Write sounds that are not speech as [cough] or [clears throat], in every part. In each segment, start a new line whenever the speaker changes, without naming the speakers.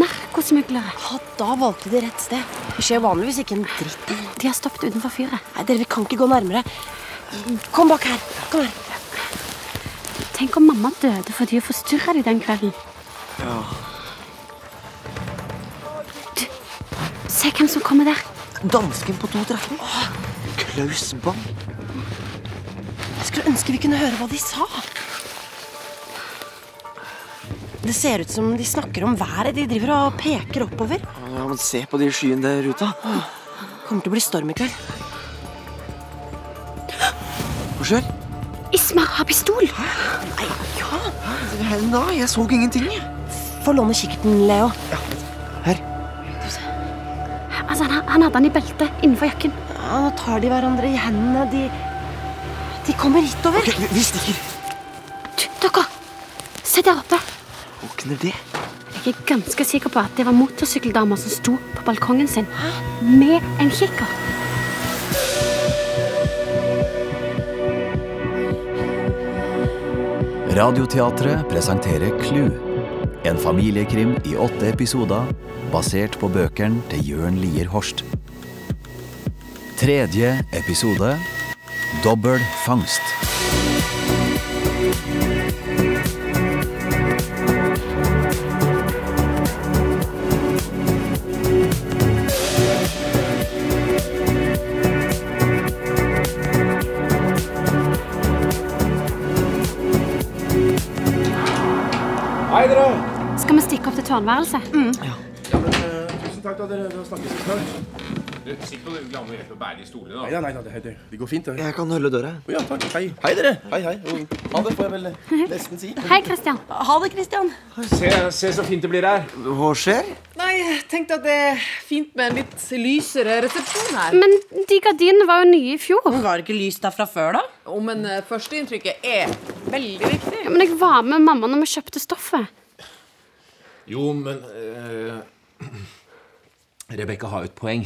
menneskesmuglere.
Ja, da valgte de rett sted. Det skjer vanligvis ikke en dritt.
De har stoppet utenfor fyret.
Nei, dere, vi kan ikke gå nærmere. Kom bak her. Kom her.
Tenk om mamma døde fordi hun forstyrra de den kvelden. Du, se hvem som kommer der.
Dansken på 2,13. Klaus Bang.
Jeg skulle ønske vi kunne høre hva de sa. Det ser ut som de snakker om været. De driver og peker oppover.
Ja, men se på de skyene der ute. da.
Kommer til å bli storm i kveld.
Hva skjer?
Ismar har pistol.
Nei, ja.
Nei, nei, jeg så ingenting. jeg.
Få låne kikkerten, Leo.
Her.
Altså, han, han hadde den i beltet innenfor jakken.
Ja, nå tar de hverandre i hendene. De, de kommer hitover.
Ok, vi, vi stikker.
Du, dere! Se der oppe.
Våkner det?
Jeg er ganske sikker på at det var motorsykkeldamer som sto på balkongen sin med en kikker.
Radioteatret presenterer Clou. En familiekrim i åtte episoder basert på bøkene til Jørn Lier Horst. Tredje episode Dobbel fangst.
Hei, dere!
Skal vi stikke opp til tårnværelset?
Tusen takk, da, dere. Vi snakkes vi snart.
Du, Sitt på den gamle hjelp å bære de stolene, da.
Nei, nei, nei, det, det, det går fint. det.
Jeg kan holde døra.
Å ja, takk. Hei. Hei, dere. Hei, hei. Og Ha det, får jeg vel nesten si.
Hei, Christian.
Ha det, Christian.
Se, se så fint det blir her.
Hva skjer?
Nei, jeg tenkte at det er fint med en litt lysere resepsjon her.
Men de gardinene var jo nye i fjor.
Var det ikke lys der fra før, da?
Om men eh, førsteinntrykket er veldig viktig.
Ja, men jeg var med mamma når vi kjøpte stoffet.
Jo, men uh, [clears throat] Rebekka har jo et poeng.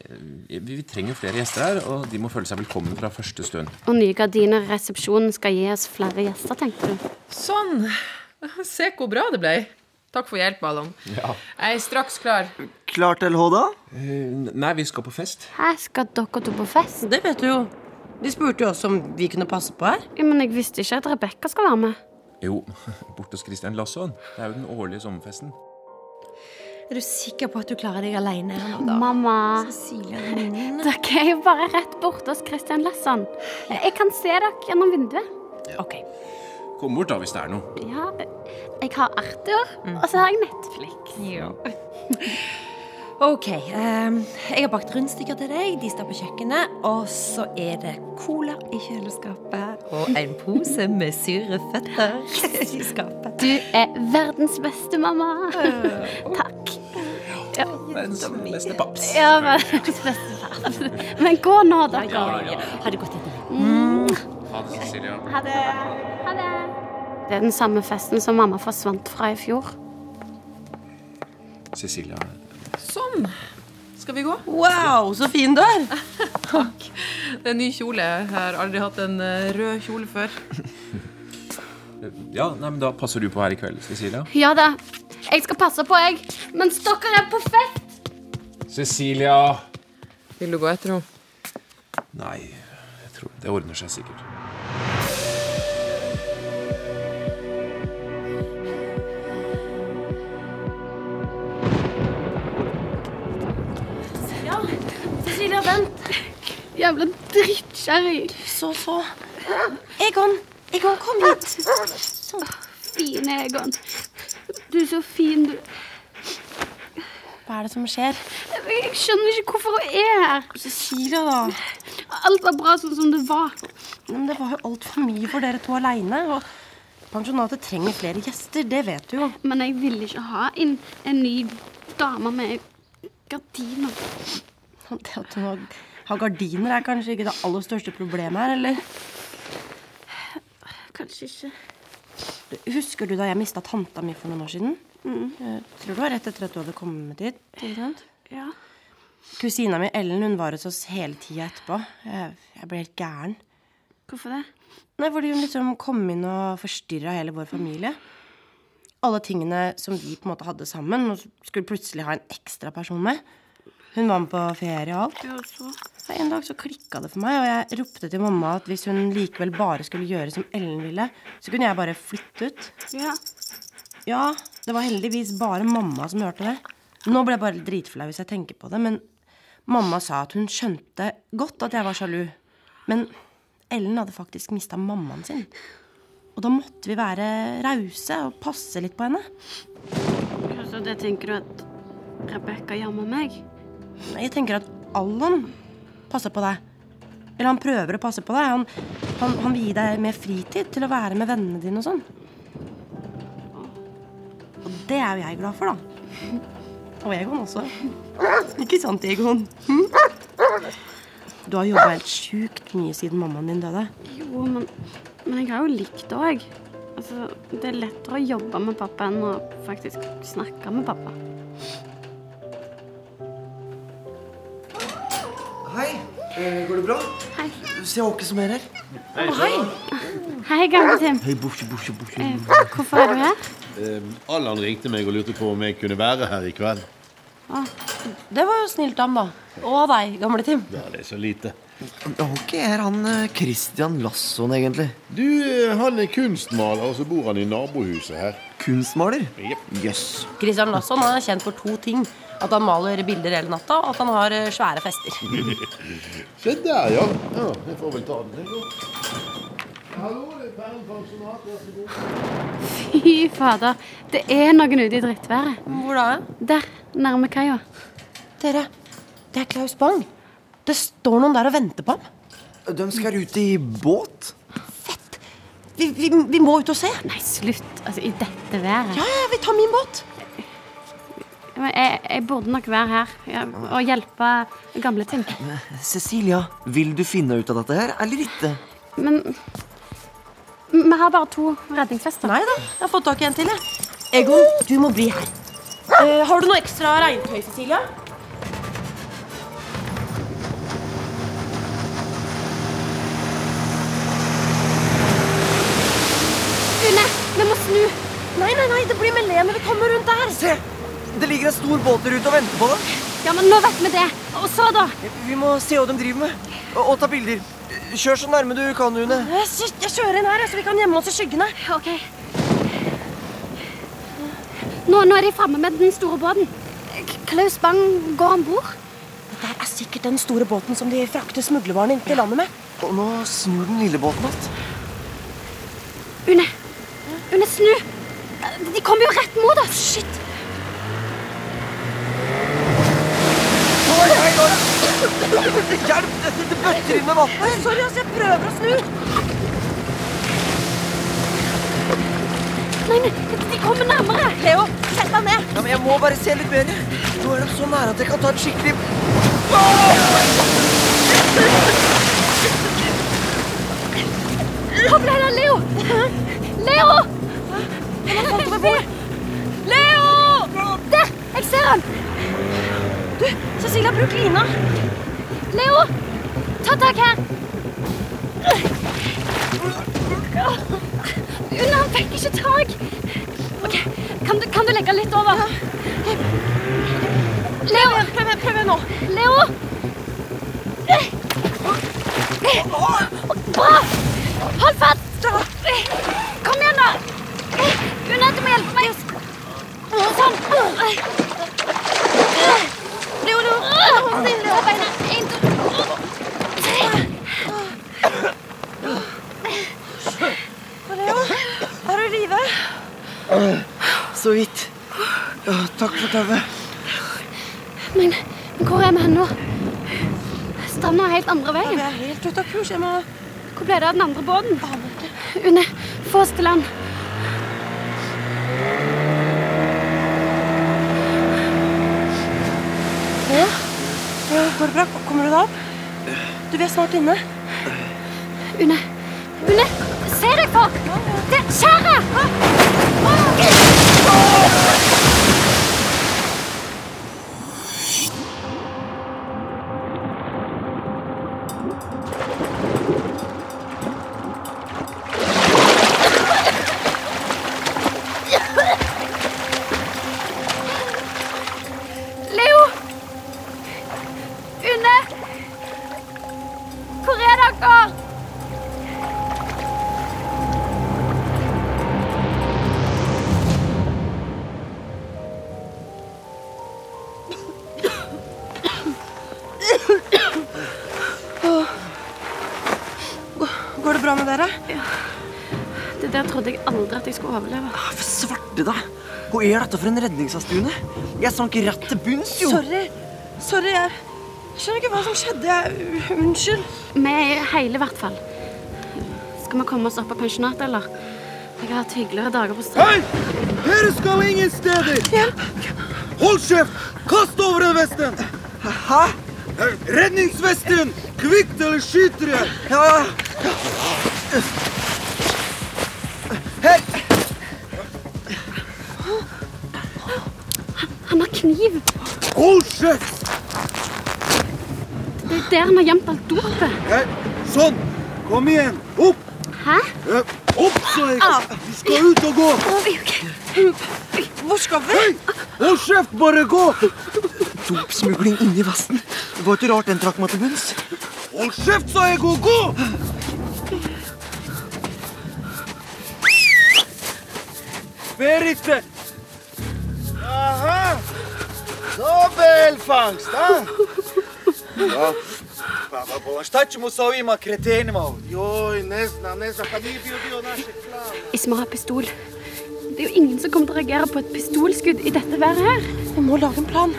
Eh, Vi, vi trenger flere gjester her, og de må føle seg velkommen fra første stund.
Og nye gardiner i resepsjonen skal gi oss flere gjester, tenkte du.
Sånn. [laughs] Se hvor bra det ble. Takk for hjelp, Alon. Jeg er straks klar.
Klar til H, da?
Eh, Nei, vi skal på fest.
Her skal dere to på fest.
Det vet du jo. De spurte jo oss om vi kunne passe på her.
Ja, men jeg visste ikke at Rebekka skal være med.
Jo, [laughs] borte hos Christian Lasson. Det er jo den årlige sommerfesten.
Er du sikker på at du klarer deg alene her nå, da?
Mamma,
Cecilia, venninne.
dere er jo bare rett borte hos Christian Lesson. Jeg kan se dere gjennom vinduet.
Ok.
Kom bort, da, hvis det er noe.
Ja, jeg har Arthur, og så har jeg Netflix.
Ok, ehm, jeg har bakt rundstykker til deg, de står på kjøkkenet, og så er det cola i kjøleskapet, og en pose med sure føtter i skapet.
Du er verdens beste mamma. Takk.
Verdens beste paps.
Ja, verdens beste far. Men gå nå, dere.
Har det gått etter?
Ha det, Cecilia.
Ha det. Ha det. Det er den samme festen som mamma forsvant fra i fjor.
Cecilia,
Sånn. Skal vi gå?
Wow, så fin du er.
Takk. Det er ny kjole. Jeg har aldri hatt en eh, rød kjole før.
eh, Ja, nei, men da passer du på her i kveld, Cecilia.
Ja da. Jeg skal passe på, jeg. Mens dere er på fest.
Cecilia!
Vil du gå etter henne?
Nei, jeg tror det ordner seg sikkert.
Cecilia, vent. Jævla drittkjerring.
Så, så. Egon, Egon, kom hit.
Fine Egon. Du er så fin, du.
Hva er det som skjer?
Jeg skjønner ikke hvorfor hun er her.
Cecilia, da.
Alt var bra sånn som det var.
Men det var jo altfor mye for dere to aleine. Og pensjonatet trenger flere gjester, det vet du jo.
Men jeg ville ikke ha inn en ny dame med gardiner.
Det at hun har- har gardiner, er kanskje ikke det aller største problemet her, eller?
Kanskje ikke.
Husker du da jeg mista tanta mi for noen år siden? Jeg tror det var rett etter at du hadde kommet hit. ikke sant?
Ja.
Kusina mi Ellen hun var hos oss hele tida etterpå. Jeg, jeg ble helt gæren.
Hvorfor det?
Nei, Fordi hun liksom kom inn og forstyrra hele vår familie. alle tingene som vi på en måte hadde sammen, og skulle plutselig ha en ekstra person med. Hun var med på ferie og alt. Og så, så en dag så klikka det for meg, og jeg ropte til mamma at hvis hun likevel bare skulle gjøre som Ellen ville, så kunne jeg bare flytte ut.
Ja.
Ja, det var heldigvis bare mamma som hørte det. Nå ble jeg bare dritflau hvis jeg tenker på det, men mamma sa at hun skjønte godt at jeg var sjalu. Men Ellen hadde faktisk mista mammaen sin. Og da måtte vi være rause og passe litt på henne.
Så Altså, det tenker du at Rebekka jammer meg?
Jeg tenker at Allan passer på deg. Eller han prøver å passe på deg. Han, han, han vil gi deg mer fritid til å være med vennene dine og sånn. Og det er jo jeg glad for, da. Og Egon også. Ikke sant, Egon? Du har jobba helt sjukt mye siden mammaen din døde.
Jo, men, men jeg har jo likt det òg. Altså, det er lettere å jobbe med pappa enn å faktisk snakke med pappa.
Hei. Eh, går det bra?
Hei.
Se Åke som er her.
Hei, gamle Tim.
Hei, borsi, borsi, borsi.
Eh, Hvorfor er du her?
Allan ringte meg og lurte på om jeg kunne være her i kveld.
Det var jo snilt av ham, da. Og av deg, gamle Tim.
Ja, det er så lite.
Åke er han eh, Christian Lasson, egentlig.
Du,
eh,
han er kunstmaler, og så bor han i nabohuset her.
Kunstmaler? Jøss.
Christian Lasson han er kjent for to ting. At han maler bilder hele natta, og at han har eh, svære fester.
Se der, ja. ja. Jeg får vel ta den. jeg, da. Hallo, det er Perlen pensjonat. Vær så god.
Fy fader. Det er noen ute i drittværet.
Hvor da?
Der, nærme kaia.
Dere, det er Klaus Bang. Det står noen der og venter på ham.
De skal ut i båt?
Vi, vi, vi må ut og se. Ja,
Nei, slutt. Altså, i dette været.
ja, vi tar min båt.
Men jeg, jeg burde nok være her ja, og hjelpe gamle Tim.
Cecilia, vil du finne ut av dette her, eller ikke?
Men vi har bare to redningsvester.
Nei da, jeg har fått tak i en til. jeg. Egon, du må bli her. Eh, har du noe ekstra regntøy, Cecilia?
Une, vi må snu.
Nei, nei, nei, det blir Melene. Vi kommer rundt der.
Se! Det ligger en stor båtrute og venter på deg.
Ja, men nå vet vi det. Og så, da?
Vi må se hva de driver med, og, og ta bilder. Kjør så nærme du kan, Une.
Eh, shit, Jeg kjører inn her, så vi kan gjemme oss i skyggene.
OK. Nå, nå er de framme med den store båten. K- Klaus Bang går om bord.
Det er sikkert den store båten som de frakter smuglervarene inn til landet med.
Og nå snur den lille båten att.
Une, Une, snu. De kommer jo rett mot oss. Shit.
Oi, oi, oi. Hjelp! Det, det bøtter inn med vann.
Sorry, ass, jeg prøver å snu.
Nei, nei, de kommer nærmere.
Theo, sett deg ned.
Ja, men jeg må bare se litt bedre. Nå er de så nære at jeg kan ta et skikkelig
Kom deg der, Leo. Leo! Leo! Der! Jeg ser han.
Cecilia, bruk lina.
Leo! Ta tak her! Una, han fikk ikke tak. Ok, kan du, kan du legge litt over? Leo! Prøv, nå. Leo! Bra! Hold fast! Kom igjen, da! Una, du må hjelpe meg. Sånn. Leo, Leo, hold stille på beina. En, to,
Er du i live?
Så vidt. Ja, takk for tauet.
Men hvor er vi hen nå? Stranda er helt andre veien.
Jeg er helt ute av kurs. Jeg må
Hvor ble det av den andre båten? Une, få oss til land.
Ja, Går det bra? Kommer du deg opp? Du, vi er snart inne.
Une, Une, se deg for! Det skjæret! dere!
Går det bra med dere?
Det der trodde jeg aldri at jeg skulle overleve.
For svarte deg! Hva er dette for en redningshastune? Jeg sank rett til bunns, jo!
Sorry. Sorry, jeg skjønner ikke hva som skjedde. Jeg- Unnskyld.
Vi er hele, i hvert fall. Skal vi komme oss opp av pensjonatet, eller? Jeg har hatt hyggeligere dager på strand.
Hei! Dere skal ingen steder! Hold kjeft! Kast over den vesten! Hæ? Redningsvesten! Kvikt, eller skyter jeg! Ja. Her!
Han har kniv!
Hold kjeft!
Det er der han har gjemt alt dopet.
Her. Sånn! Kom igjen! Opp!
Hæ?
Eh, Opp, sa jeg! Vi skal ut og gå!
Oi, ok.
Hvor skal vi?
Hei! Hold kjeft, bare gå! Dopsmugling inni vesten. Det var ikke rart den trakk meg til bunns. Hold kjeft, sa jeg! Gå, gå! Fer ikke!
Aha! Dobbel fangst, da!
Pa, pa, pa, šta ćemo sa ovima kretenima ovdje?
Joj, ne znam, ne znam, pa nije bio dio našeg plana.
Isma har pistol. Det er jo ingen som kommer til å reagere på et pistolskudd i dette været her.
Vi må lage en plan.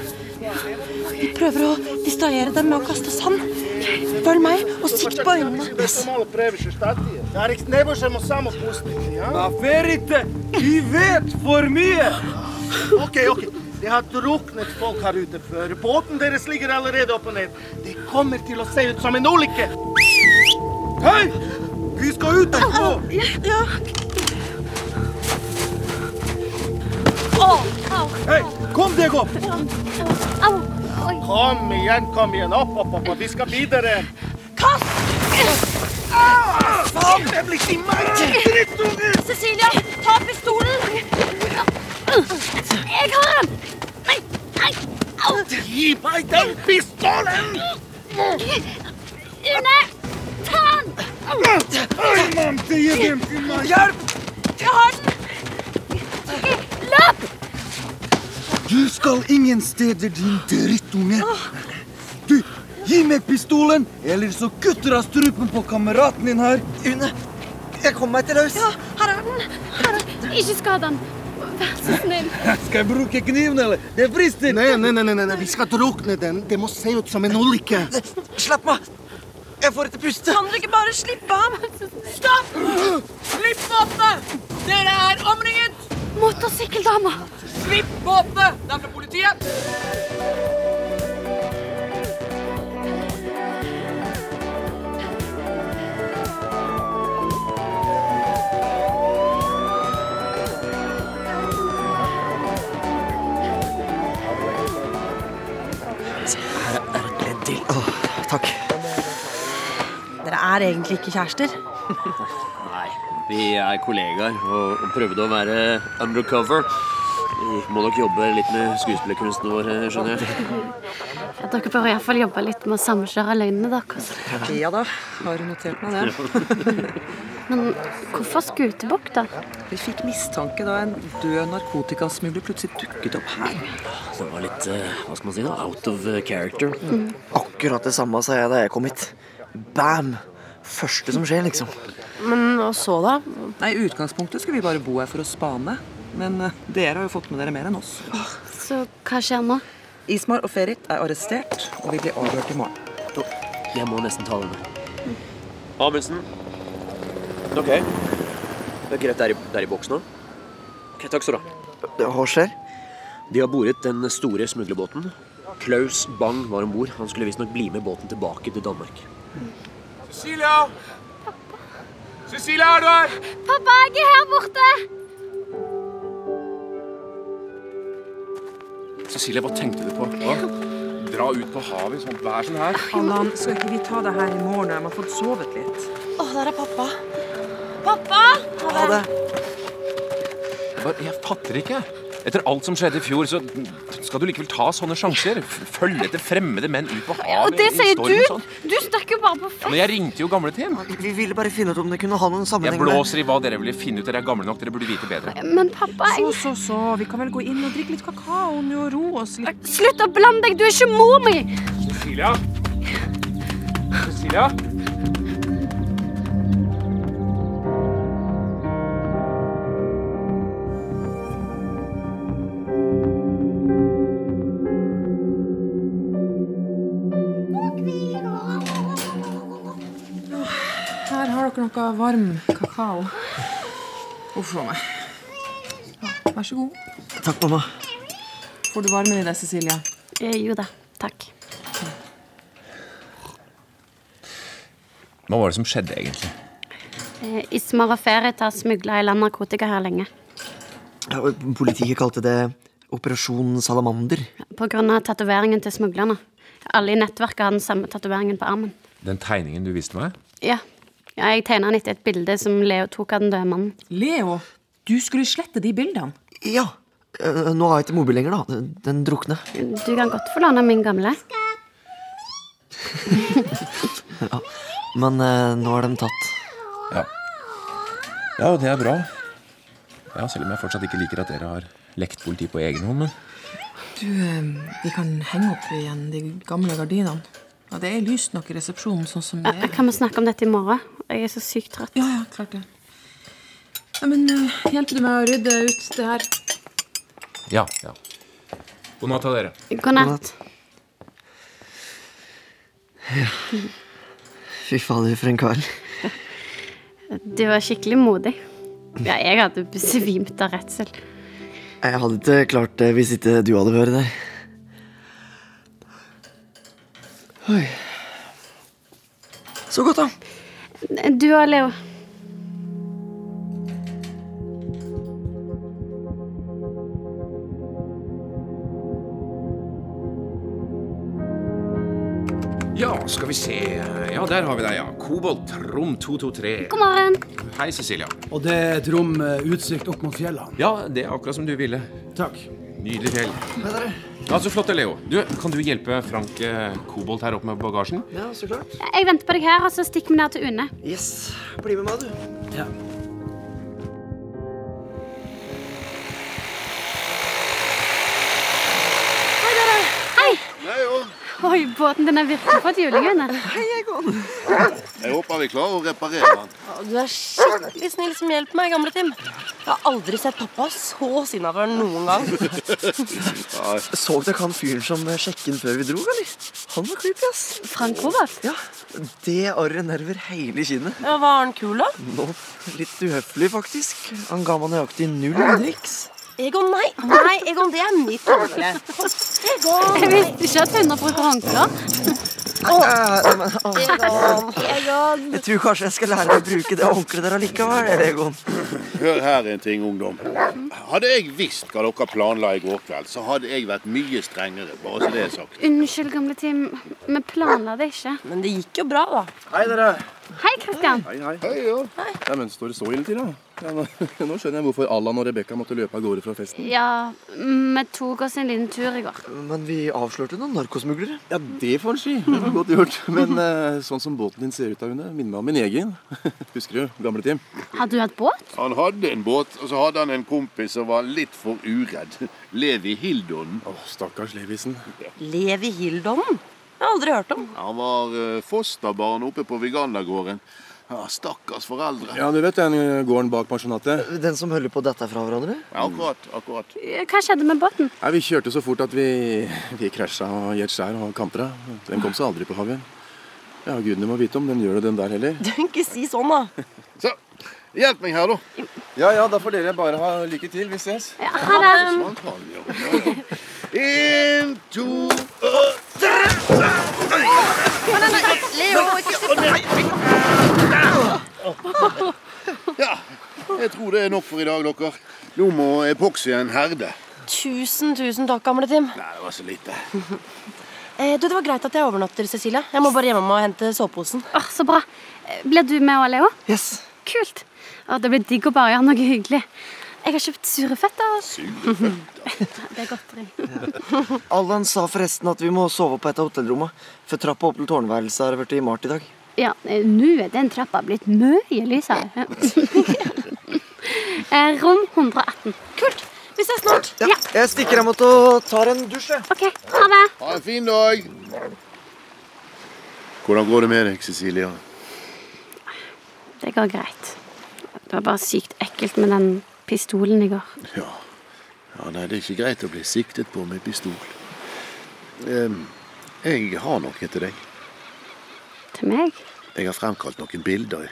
Vi prøver å distrahere dem med å kaste sand. Følg meg og sikt på øynene.
Mislim da je to malo previše, šta ti je? Tarik, ne možemo samo pustiti, a?
Pa ferite, i vet for mye!
Okej, okej. Det har drucknit folk här ute för båten deras ligger allerede upp och ner. Det kommer till att se ut som en olycka.
Hei! Vi skal ut og gå!
Å, au,
Hei, kom deg opp!
au, oi.
Kom igen, kom igen, upp, upp, upp, upp. vi ska vidare.
Faen, jeg blir ikke meg! Drittunge!
Cecilia, ta pistolen! Jeg har den! Nei, nei, au!
Gi mig den pistolen!
Une, ta den!
Oj, man, det är den till mig.
Hjelp!
Jeg har den! Løp!
Du skal ingen steder, din drittunge! Du, gi meg pistolen, eller så kutter jeg strupen på kameraten din her. Une, jeg kommer meg til løs.
Her er den. Her er den. Ikke skad den. Vær så snill.
Skal jeg bruke kniven, eller? Det frister!
Nej, nej, nej, nej, nej, nej, vi ska druckna den. Det måste se ut som en olycka.
Slapp meg! Jeg får ikke puste.
Kan dere ikke bare slippe ham?
Stopp! Slipp båtene! Dere er omringet!
Motorsykkeldama.
Slipp båtene! Det er fra politiet.
Ledd til. Åh, takk.
Dere er egentlig ikke kjærester.
Nei, vi er kollegaer og, og prøvde å være undercover. Vi må nok jobbe litt med skuespillerkunsten vår, skjønner jeg.
Dere bør iallfall jobbe litt med å samkjøre løgnene deres.
Ja da, har notert
[laughs]
meg det.
Men hvorfor Skutebukk, da?
Vi fikk mistanke da en død narkotikasmugler plutselig dukket opp her.
Det var litt eh, hva skal man si da, out of eh, character.
Mm. Akkurat det samme sa jeg da jeg kom hit. Bam! Første som skjer, liksom.
Men og så, da?
Nei, I utgangspunktet skulle vi bare bo her for å spane. Men eh, dere har jo fått med dere mer enn oss.
Så hva skjer nå?
Ismar og Ferit er arrestert, og vi blir avhørt i morgen.
Å, Jeg må nesten ta denne. Amundsen. Ok. Det er greit, det er i, det er i boks nå. Ok, takk skal du ha.
Eh, Hva skjer?
De har boret den store smuglerbåten. Klaus Bang var om bord. Han skulle visstnok bli med båten tilbake til Danmark.
Cecilia! Cecilia, er du her?
Pappa, jeg er her borte!
Cecilie, hva tenkte du på? Å, Dra ut på havet i sånt vær som her?
Allan, skal ikke vi ta det her i morgen? Jeg har fått sovet litt.
Å, der er pappa.
Pappa!
Ha det.
Jeg, bare, jeg fatter ikke. Etter alt som skjedde i fjor, så skal du likevel ta sånne sjanser. F- Følge etter fremmede menn ut på havet.
Og
i
det sier
storm
du!
og sånn.
Du stakk jo bare på
Ja, men jeg ringte jo gamle Tim.
Vi ville bare finne ut om det kunne ha noen
Jeg
sammenheng
blåser i hva dere ville finne ut. Dere er gamle nok, dere burde vite bedre.
Men pappa,
jeg Så, så, så. Vi kan vel gå inn og drikke litt kakao nå og roe oss litt.
Slutt å blande deg! Du er ikke mor mi!
Cecilia? Cecilia?
Her har dere noe varm kakao. Uff a meg. Ja, Vær så god.
Takk, mamma.
Får du varmen i deg, Cecilia?
Eh, jo da. Takk.
Hva var det som skjedde, egentlig?
Eh, Ismer og Ferita smugla i land narkotika her lenge.
Ja, Politiet kalte det Operasjon Salamander.
På grunn av tatoveringen til smuglerne. Alle i nettverket har den samme tatoveringen på armen.
Den tegningen du viste meg?
Ja. ja jeg tegna den etter et bilde som Leo tok av den døde mannen.
Leo, du skulle slette de bildene.
Ja. Eh, Nå har jeg ikke mobil lenger, da. Den- Den drukne.
Du kan godt få låne min gamle.
Ja. Men eh, nå er de tatt.
Ja. Ja, og det er bra. Ja, Selv om jeg fortsatt ikke liker at dere har lekt politi på egen hånd. Men
Du, eh, vi kan henge opp igjen de gamle gardinene. Ja, det er lyst nok i resepsjonen, sånn som det
Ja,
er.
kan vi snakke om dette i morgen? Jeg er så sykt trøtt.
Ja, ja, klart det. Ja, men eh, hjelper du meg å rydde ut det her?
ja, ja. God natt til dere.
God natt.
Fy fader, for en kveld.
Du var skikkelig modig. Ja, jeg hadde besvimt av redsel.
Jeg hadde ikke klart det hvis ikke du hadde vært der. Oi. Så godt, da.
Du og Leo.
Ja, skal vi se. Ja, der har vi deg, ja. Kobolt, rom 223.
God morgen.
Hei, Cecilia.
Og det er et rom med utsikt opp mot fjellene.
Ja, det er akkurat som du ville.
Takk.
Nydelig fjell. Ja, Så flott, Leo. Du, kan du hjelpe Frank eh, Kobolt her opp med bagasjen?
Ja, så klart.
Jeg venter på deg her, og så stikker vi ned til Une.
Yes. Bli med meg, du.
Ja.
Hei!
Nei, jo.
Oi, båten din har virkelig fått juling, Une.
Hei, Egon.
Jeg håper vi klarer å reparere den.
Du er skikkelig snill som hjelper meg, gamle Tim. Jeg har aldri sett pappa så sinna for noen gang.
Så dere han fyren som sjekket inn før vi dro, eller? Han var creepy, ass.
Frank Robert?
Ja. Det arret nerver hele kinnet.
Ja, Var han kul, da?
Nå, litt uhøflig, faktisk. Han ga meg nøyaktig null driks.
Egon, nei. Nei, Egon, det er mitt håndkle. Egon.
Jeg visste ikke at hunder bruker håndklær.
Eh, men, ah,
Egon.
Jeg tror kanskje jeg skal lære meg å bruke det håndkleet der allikevel. Egon.
Hør her en ting, ungdom. Hadde jeg visst hva dere planla i går kveld, så hadde jeg vært mye strengere. Bare så det er sagt.
Unnskyld, gamle Tim. Vi planla det ikke.
Men det gikk jo bra, da.
Hei, dere.
Hei, Kristian.
Hei, hei. Hei, ja. Nei, men står det så ille til, da? Ja, nå, [laughs] nå skjønner jeg hvorfor Allan og Rebekka måtte løpe av gårde fra festen.
Ja, vi tok oss en liten tur i går.
Men vi avslørte noen narkosmuglere.
Ja, det får en si. Det var godt gjort. Men eh, sånn som båten din ser ut, da, Une, minner meg om min egen. [laughs] Husker du, gamle Tim?
Har du hatt båt?
Han hadde en båt, og så hadde han en kompis som var litt for uredd. Levi Hildonen.
Å, stakkars Levisen.
Levi Hildonen? Jeg har aldri hørt om.
Han var eh, fosterbarn oppe på Vigandagården. Ja, stakkars foreldre.
Ja, du vet den eh, gården bak pensjonatet?
Den som holder på å dette fra hverandre?
Ja, akkurat. akkurat.
Hva skjedde med båten?
Nei, Vi kjørte så fort at vi, vi krasja og gikk skjær og kantra. Den kom seg aldri på havet. Ja, gudene må vite om den gjør det, den der heller.
Ikke si sånn, da.
Så, hjelp meg her, da.
Ja ja, da får dere bare ha lykke til. Vi ses.
Ha det.
Sånn En, to og tre.
Leo, ikke slipp
Ja, jeg tror det er nok for i dag, dere. Nå må epoksyen herde.
Tusen, tusen takk, gamle Tim.
Nei, det var så lite.
Eh, du, Det var greit at jeg overnatter, Cecilia. Jeg må bare hjemme og hente soveposen.
Åh, så bra. Blir du med òg, Leo?
Yes.
Kult. Åh, det blir digg å bare gjøre noe hyggelig. Jeg har kjøpt surefetter. [laughs] Det er godteri.
Allan sa forresten at vi må sove på et av hotellrommene, for trappa opp til tårnværelset har blitt malt i dag.
Ja, eh, nå er den trappa blitt mye lysere. [laughs] Ja. Eh, Rom 118. Kult. Vi ses snart. Ja.
Jeg stikker av mot og tar en dusj, jeg.
OK. Ha det.
Ha en fin dag. Hvordan går det med deg, Cecilia?
Det går greit. Det var bare sykt ekkelt med den pistolen i går.
Ja. ja nei, det er ikke greit å bli siktet på med pistol. Em, jeg har noe til deg.
Til meg?
Jeg har fremkalt noen bilder.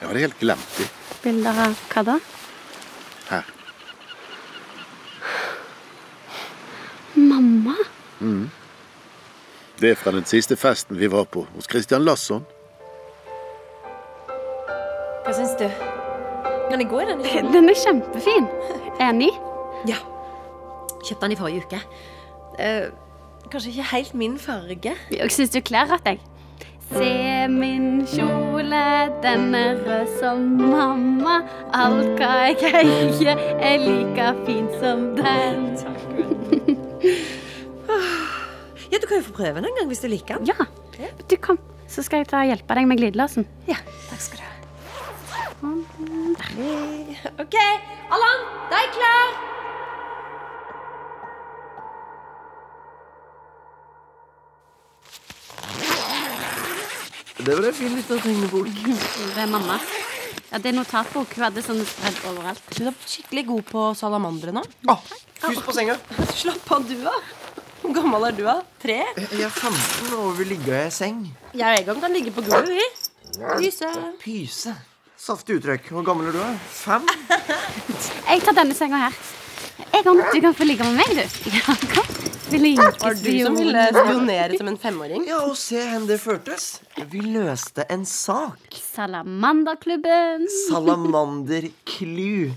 Jeg hadde helt glemt dem.
Bilder av hva da?
Her.
Mamma?
Mhm. Det er fra den siste festen vi var på hos Christian Lasson.
Hva syns du? Kan jeg gå i den?
Den er kjempefin. Enig?
Ja. Kjøpte den i forrige uke. Eh, kanskje ikke helt min farge.
Jeg syns du kler at jeg. Se min kjole, den er rød som mamma. Alt hva jeg eier, er like fint som den.
Ja, Du kan jo få prøve den en gang hvis du liker den.
Ja. Du, kom, så skal jeg ta og hjelpe deg med glidelåsen.
Ja, takk skal du ha. OK. Allan, de er klar!
Det var en fin liten tegnebok.
Det er mamma. Ja, det er notatbok. Hun hadde sånne spredd overalt.
Du er skikkelig god på salamandere nå.
Hus på senga.
Slapp av, du, da. Hvor gammel er du, da? Tre?
Jeg er 15 og vil ligge i seng.
Jeg og Egon kan ligge på gulvet, vi. Lyse.
Pyse. Saftig uttrykk. Hvor gammel er du? da? Fem?
Jeg tar denne senga her. Egon, du kan få ligge med meg, du. Ja, kom. Vi liker
Var det du som ville spionere som en femåring? [laughs]
Ja, og se hen det førtes. Vi løste en sak.
Salamanderklubben.
Salamanderklu.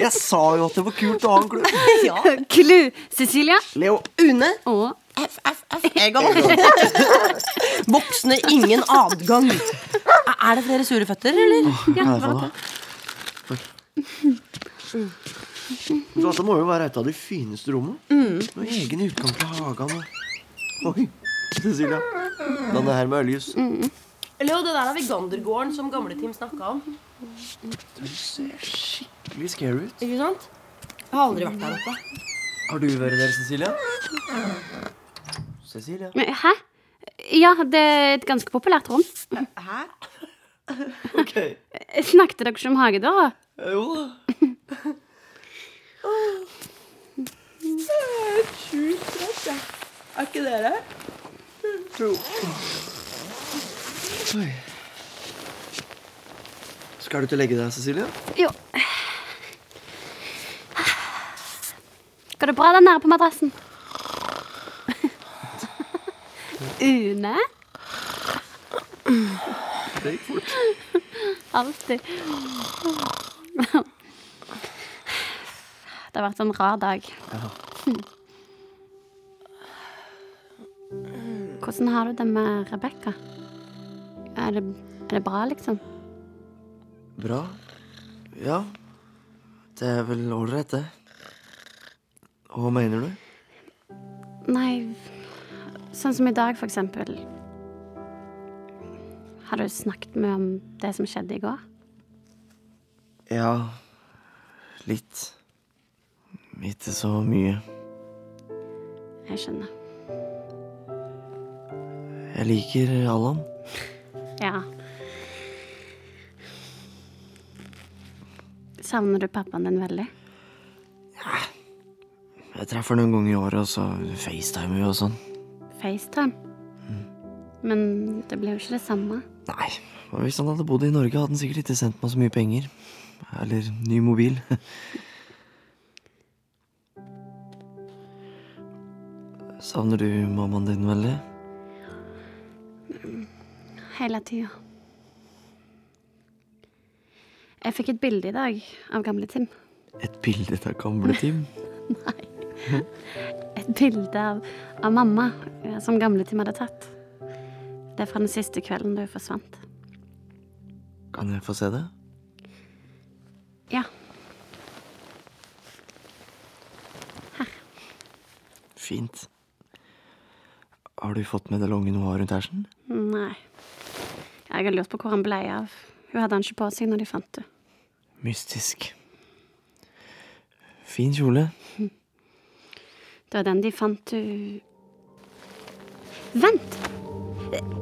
Jeg sa jo at det var kult å ha en klubb.
Ja. Klu. Cecilia.
Leo.
Une.
Og
Egon. [laughs] Voksne, ingen adgang. Er det flere sure føtter, eller?
Ja, det var det. Så Dette altså, må jo være et av de fineste rommene. Med egen utgang til hagen. Og... Oi, Cecilia. Denne her med øljus.
Eller jo, det der er Vegandergården som gamle-Tim snakka om.
Du ser skikkelig scary ut.
Ikke sant? Jeg har aldri vært der oppe.
Har du vært der, Cecilia? Cecilia?
Men, Hæ? Ja, det er et ganske populært rom.
Hæ? Ok.
Snakket dere ikke om hagedøra?
Jo da.
Sjukt trøtt, jeg. Er ikke dere?
Jo. Oi. Skal du ikke legge deg, Cecilia?
Jo. Går det bra der nede på madrassen? [laughs] Une?
Det gikk fort.
Alltid. Det har vært en rar dag. Hvordan har du det med Rebekka? Er, det- er det bra, liksom?
Bra. Ja. Det er vel ålreit, det. Hva mener du?
Nei, sånn som i dag, for eksempel. Har du snakket med om det som skjedde i går?
Ja Litt. Ikke så mye.
Jeg skjønner.
Jeg liker Allan.
Ja. Savner du pappaen din veldig?
Jeg treffer noen ganger i året, og så facetimer vi og sånn.
FaceTime? Men det blir jo ikke det samme.
Nei, og hvis han hadde bodd i Norge, hadde han sikkert ikke sendt meg så mye penger. Eller ny mobil. [laughs] Savner du mammaen din veldig?
Hele tida. Jeg fikk et bilde i dag av gamle Tim.
Et bilde av gamle Tim?
Et bilde av, av mamma eh, som gamle Tim hadde tatt. Det er fra den siste kvelden du forsvant.
Kan jeg få se det?
Ja.
fint. Har du fått med deg lange noa rundt hersen?
Nei. Jeg har lurt på hvor han ble av. Hun hadde han ikke på seg når de fant det.
Mystisk. Fin kjole.
Det var den de fant du Vent!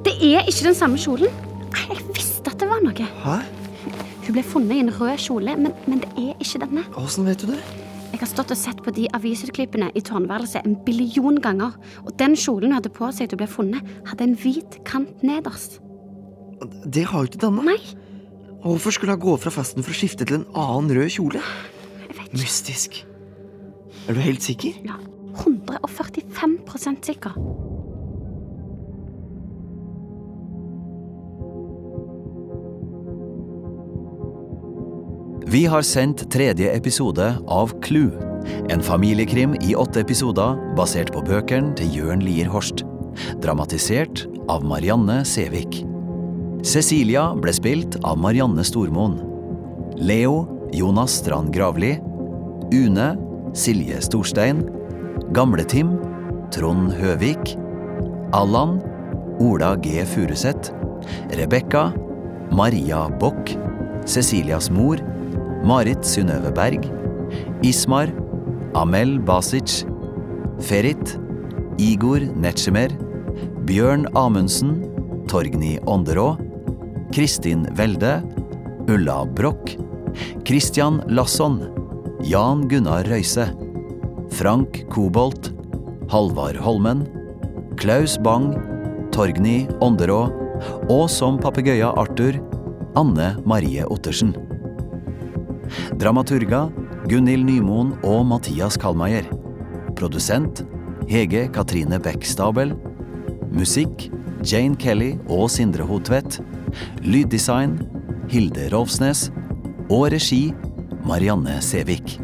Det er ikke den samme kjolen. Nei, Jeg visste at det var noe.
Hæ?
Hun ble funnet i en rød kjole, men, men det er ikke denne.
Åssen vet du det?
Jeg har stått og sett på de avisutklippene i tårnværelset en billion ganger. Og den kjolen hun hadde på seg da hun ble funnet, hadde en hvit kant nederst.
Det har jo ikke denne.
Nei.
Hvorfor skulle hun gå fra festen for å skifte til en annen rød kjole? Mystisk. Er du helt sikker?
Ja. 145 sikker.
Vi har sendt tredje episode av Clue, en familiekrim i åtte episoder basert på bøkene til Jørn Lier Horst, dramatisert av Marianne Sævik. Cecilia ble spilt av Marianne Stormoen. Leo Jonas Strand Gravli. Une Silje Storstein. Gamle-Tim Trond Høvik. Allan Ola G. Furuseth. Rebekka Maria Bock. Cecilias mor Marit Synnøve Berg, Ismar, Amel Basic, Ferit, Igor Netsjemer, Bjørn Amundsen, Torgny Ånderå, Kristin Welde, Ulla Broch, Christian Lasson, Jan Gunnar Røise, Frank Kobolt, Halvard Holmen, Klaus Bang, Torgny Ånderå og som papegøya Arthur, Anne Marie Ottersen. Dramaturga Gunhild Nymoen og Mathias Kallmeier. Produsent Hege Katrine Bech Stabel. Musikk Jane Kelly og Sindre Hotvedt. Lyddesign Hilde Rolfsnes. Og regi Marianne Sævik.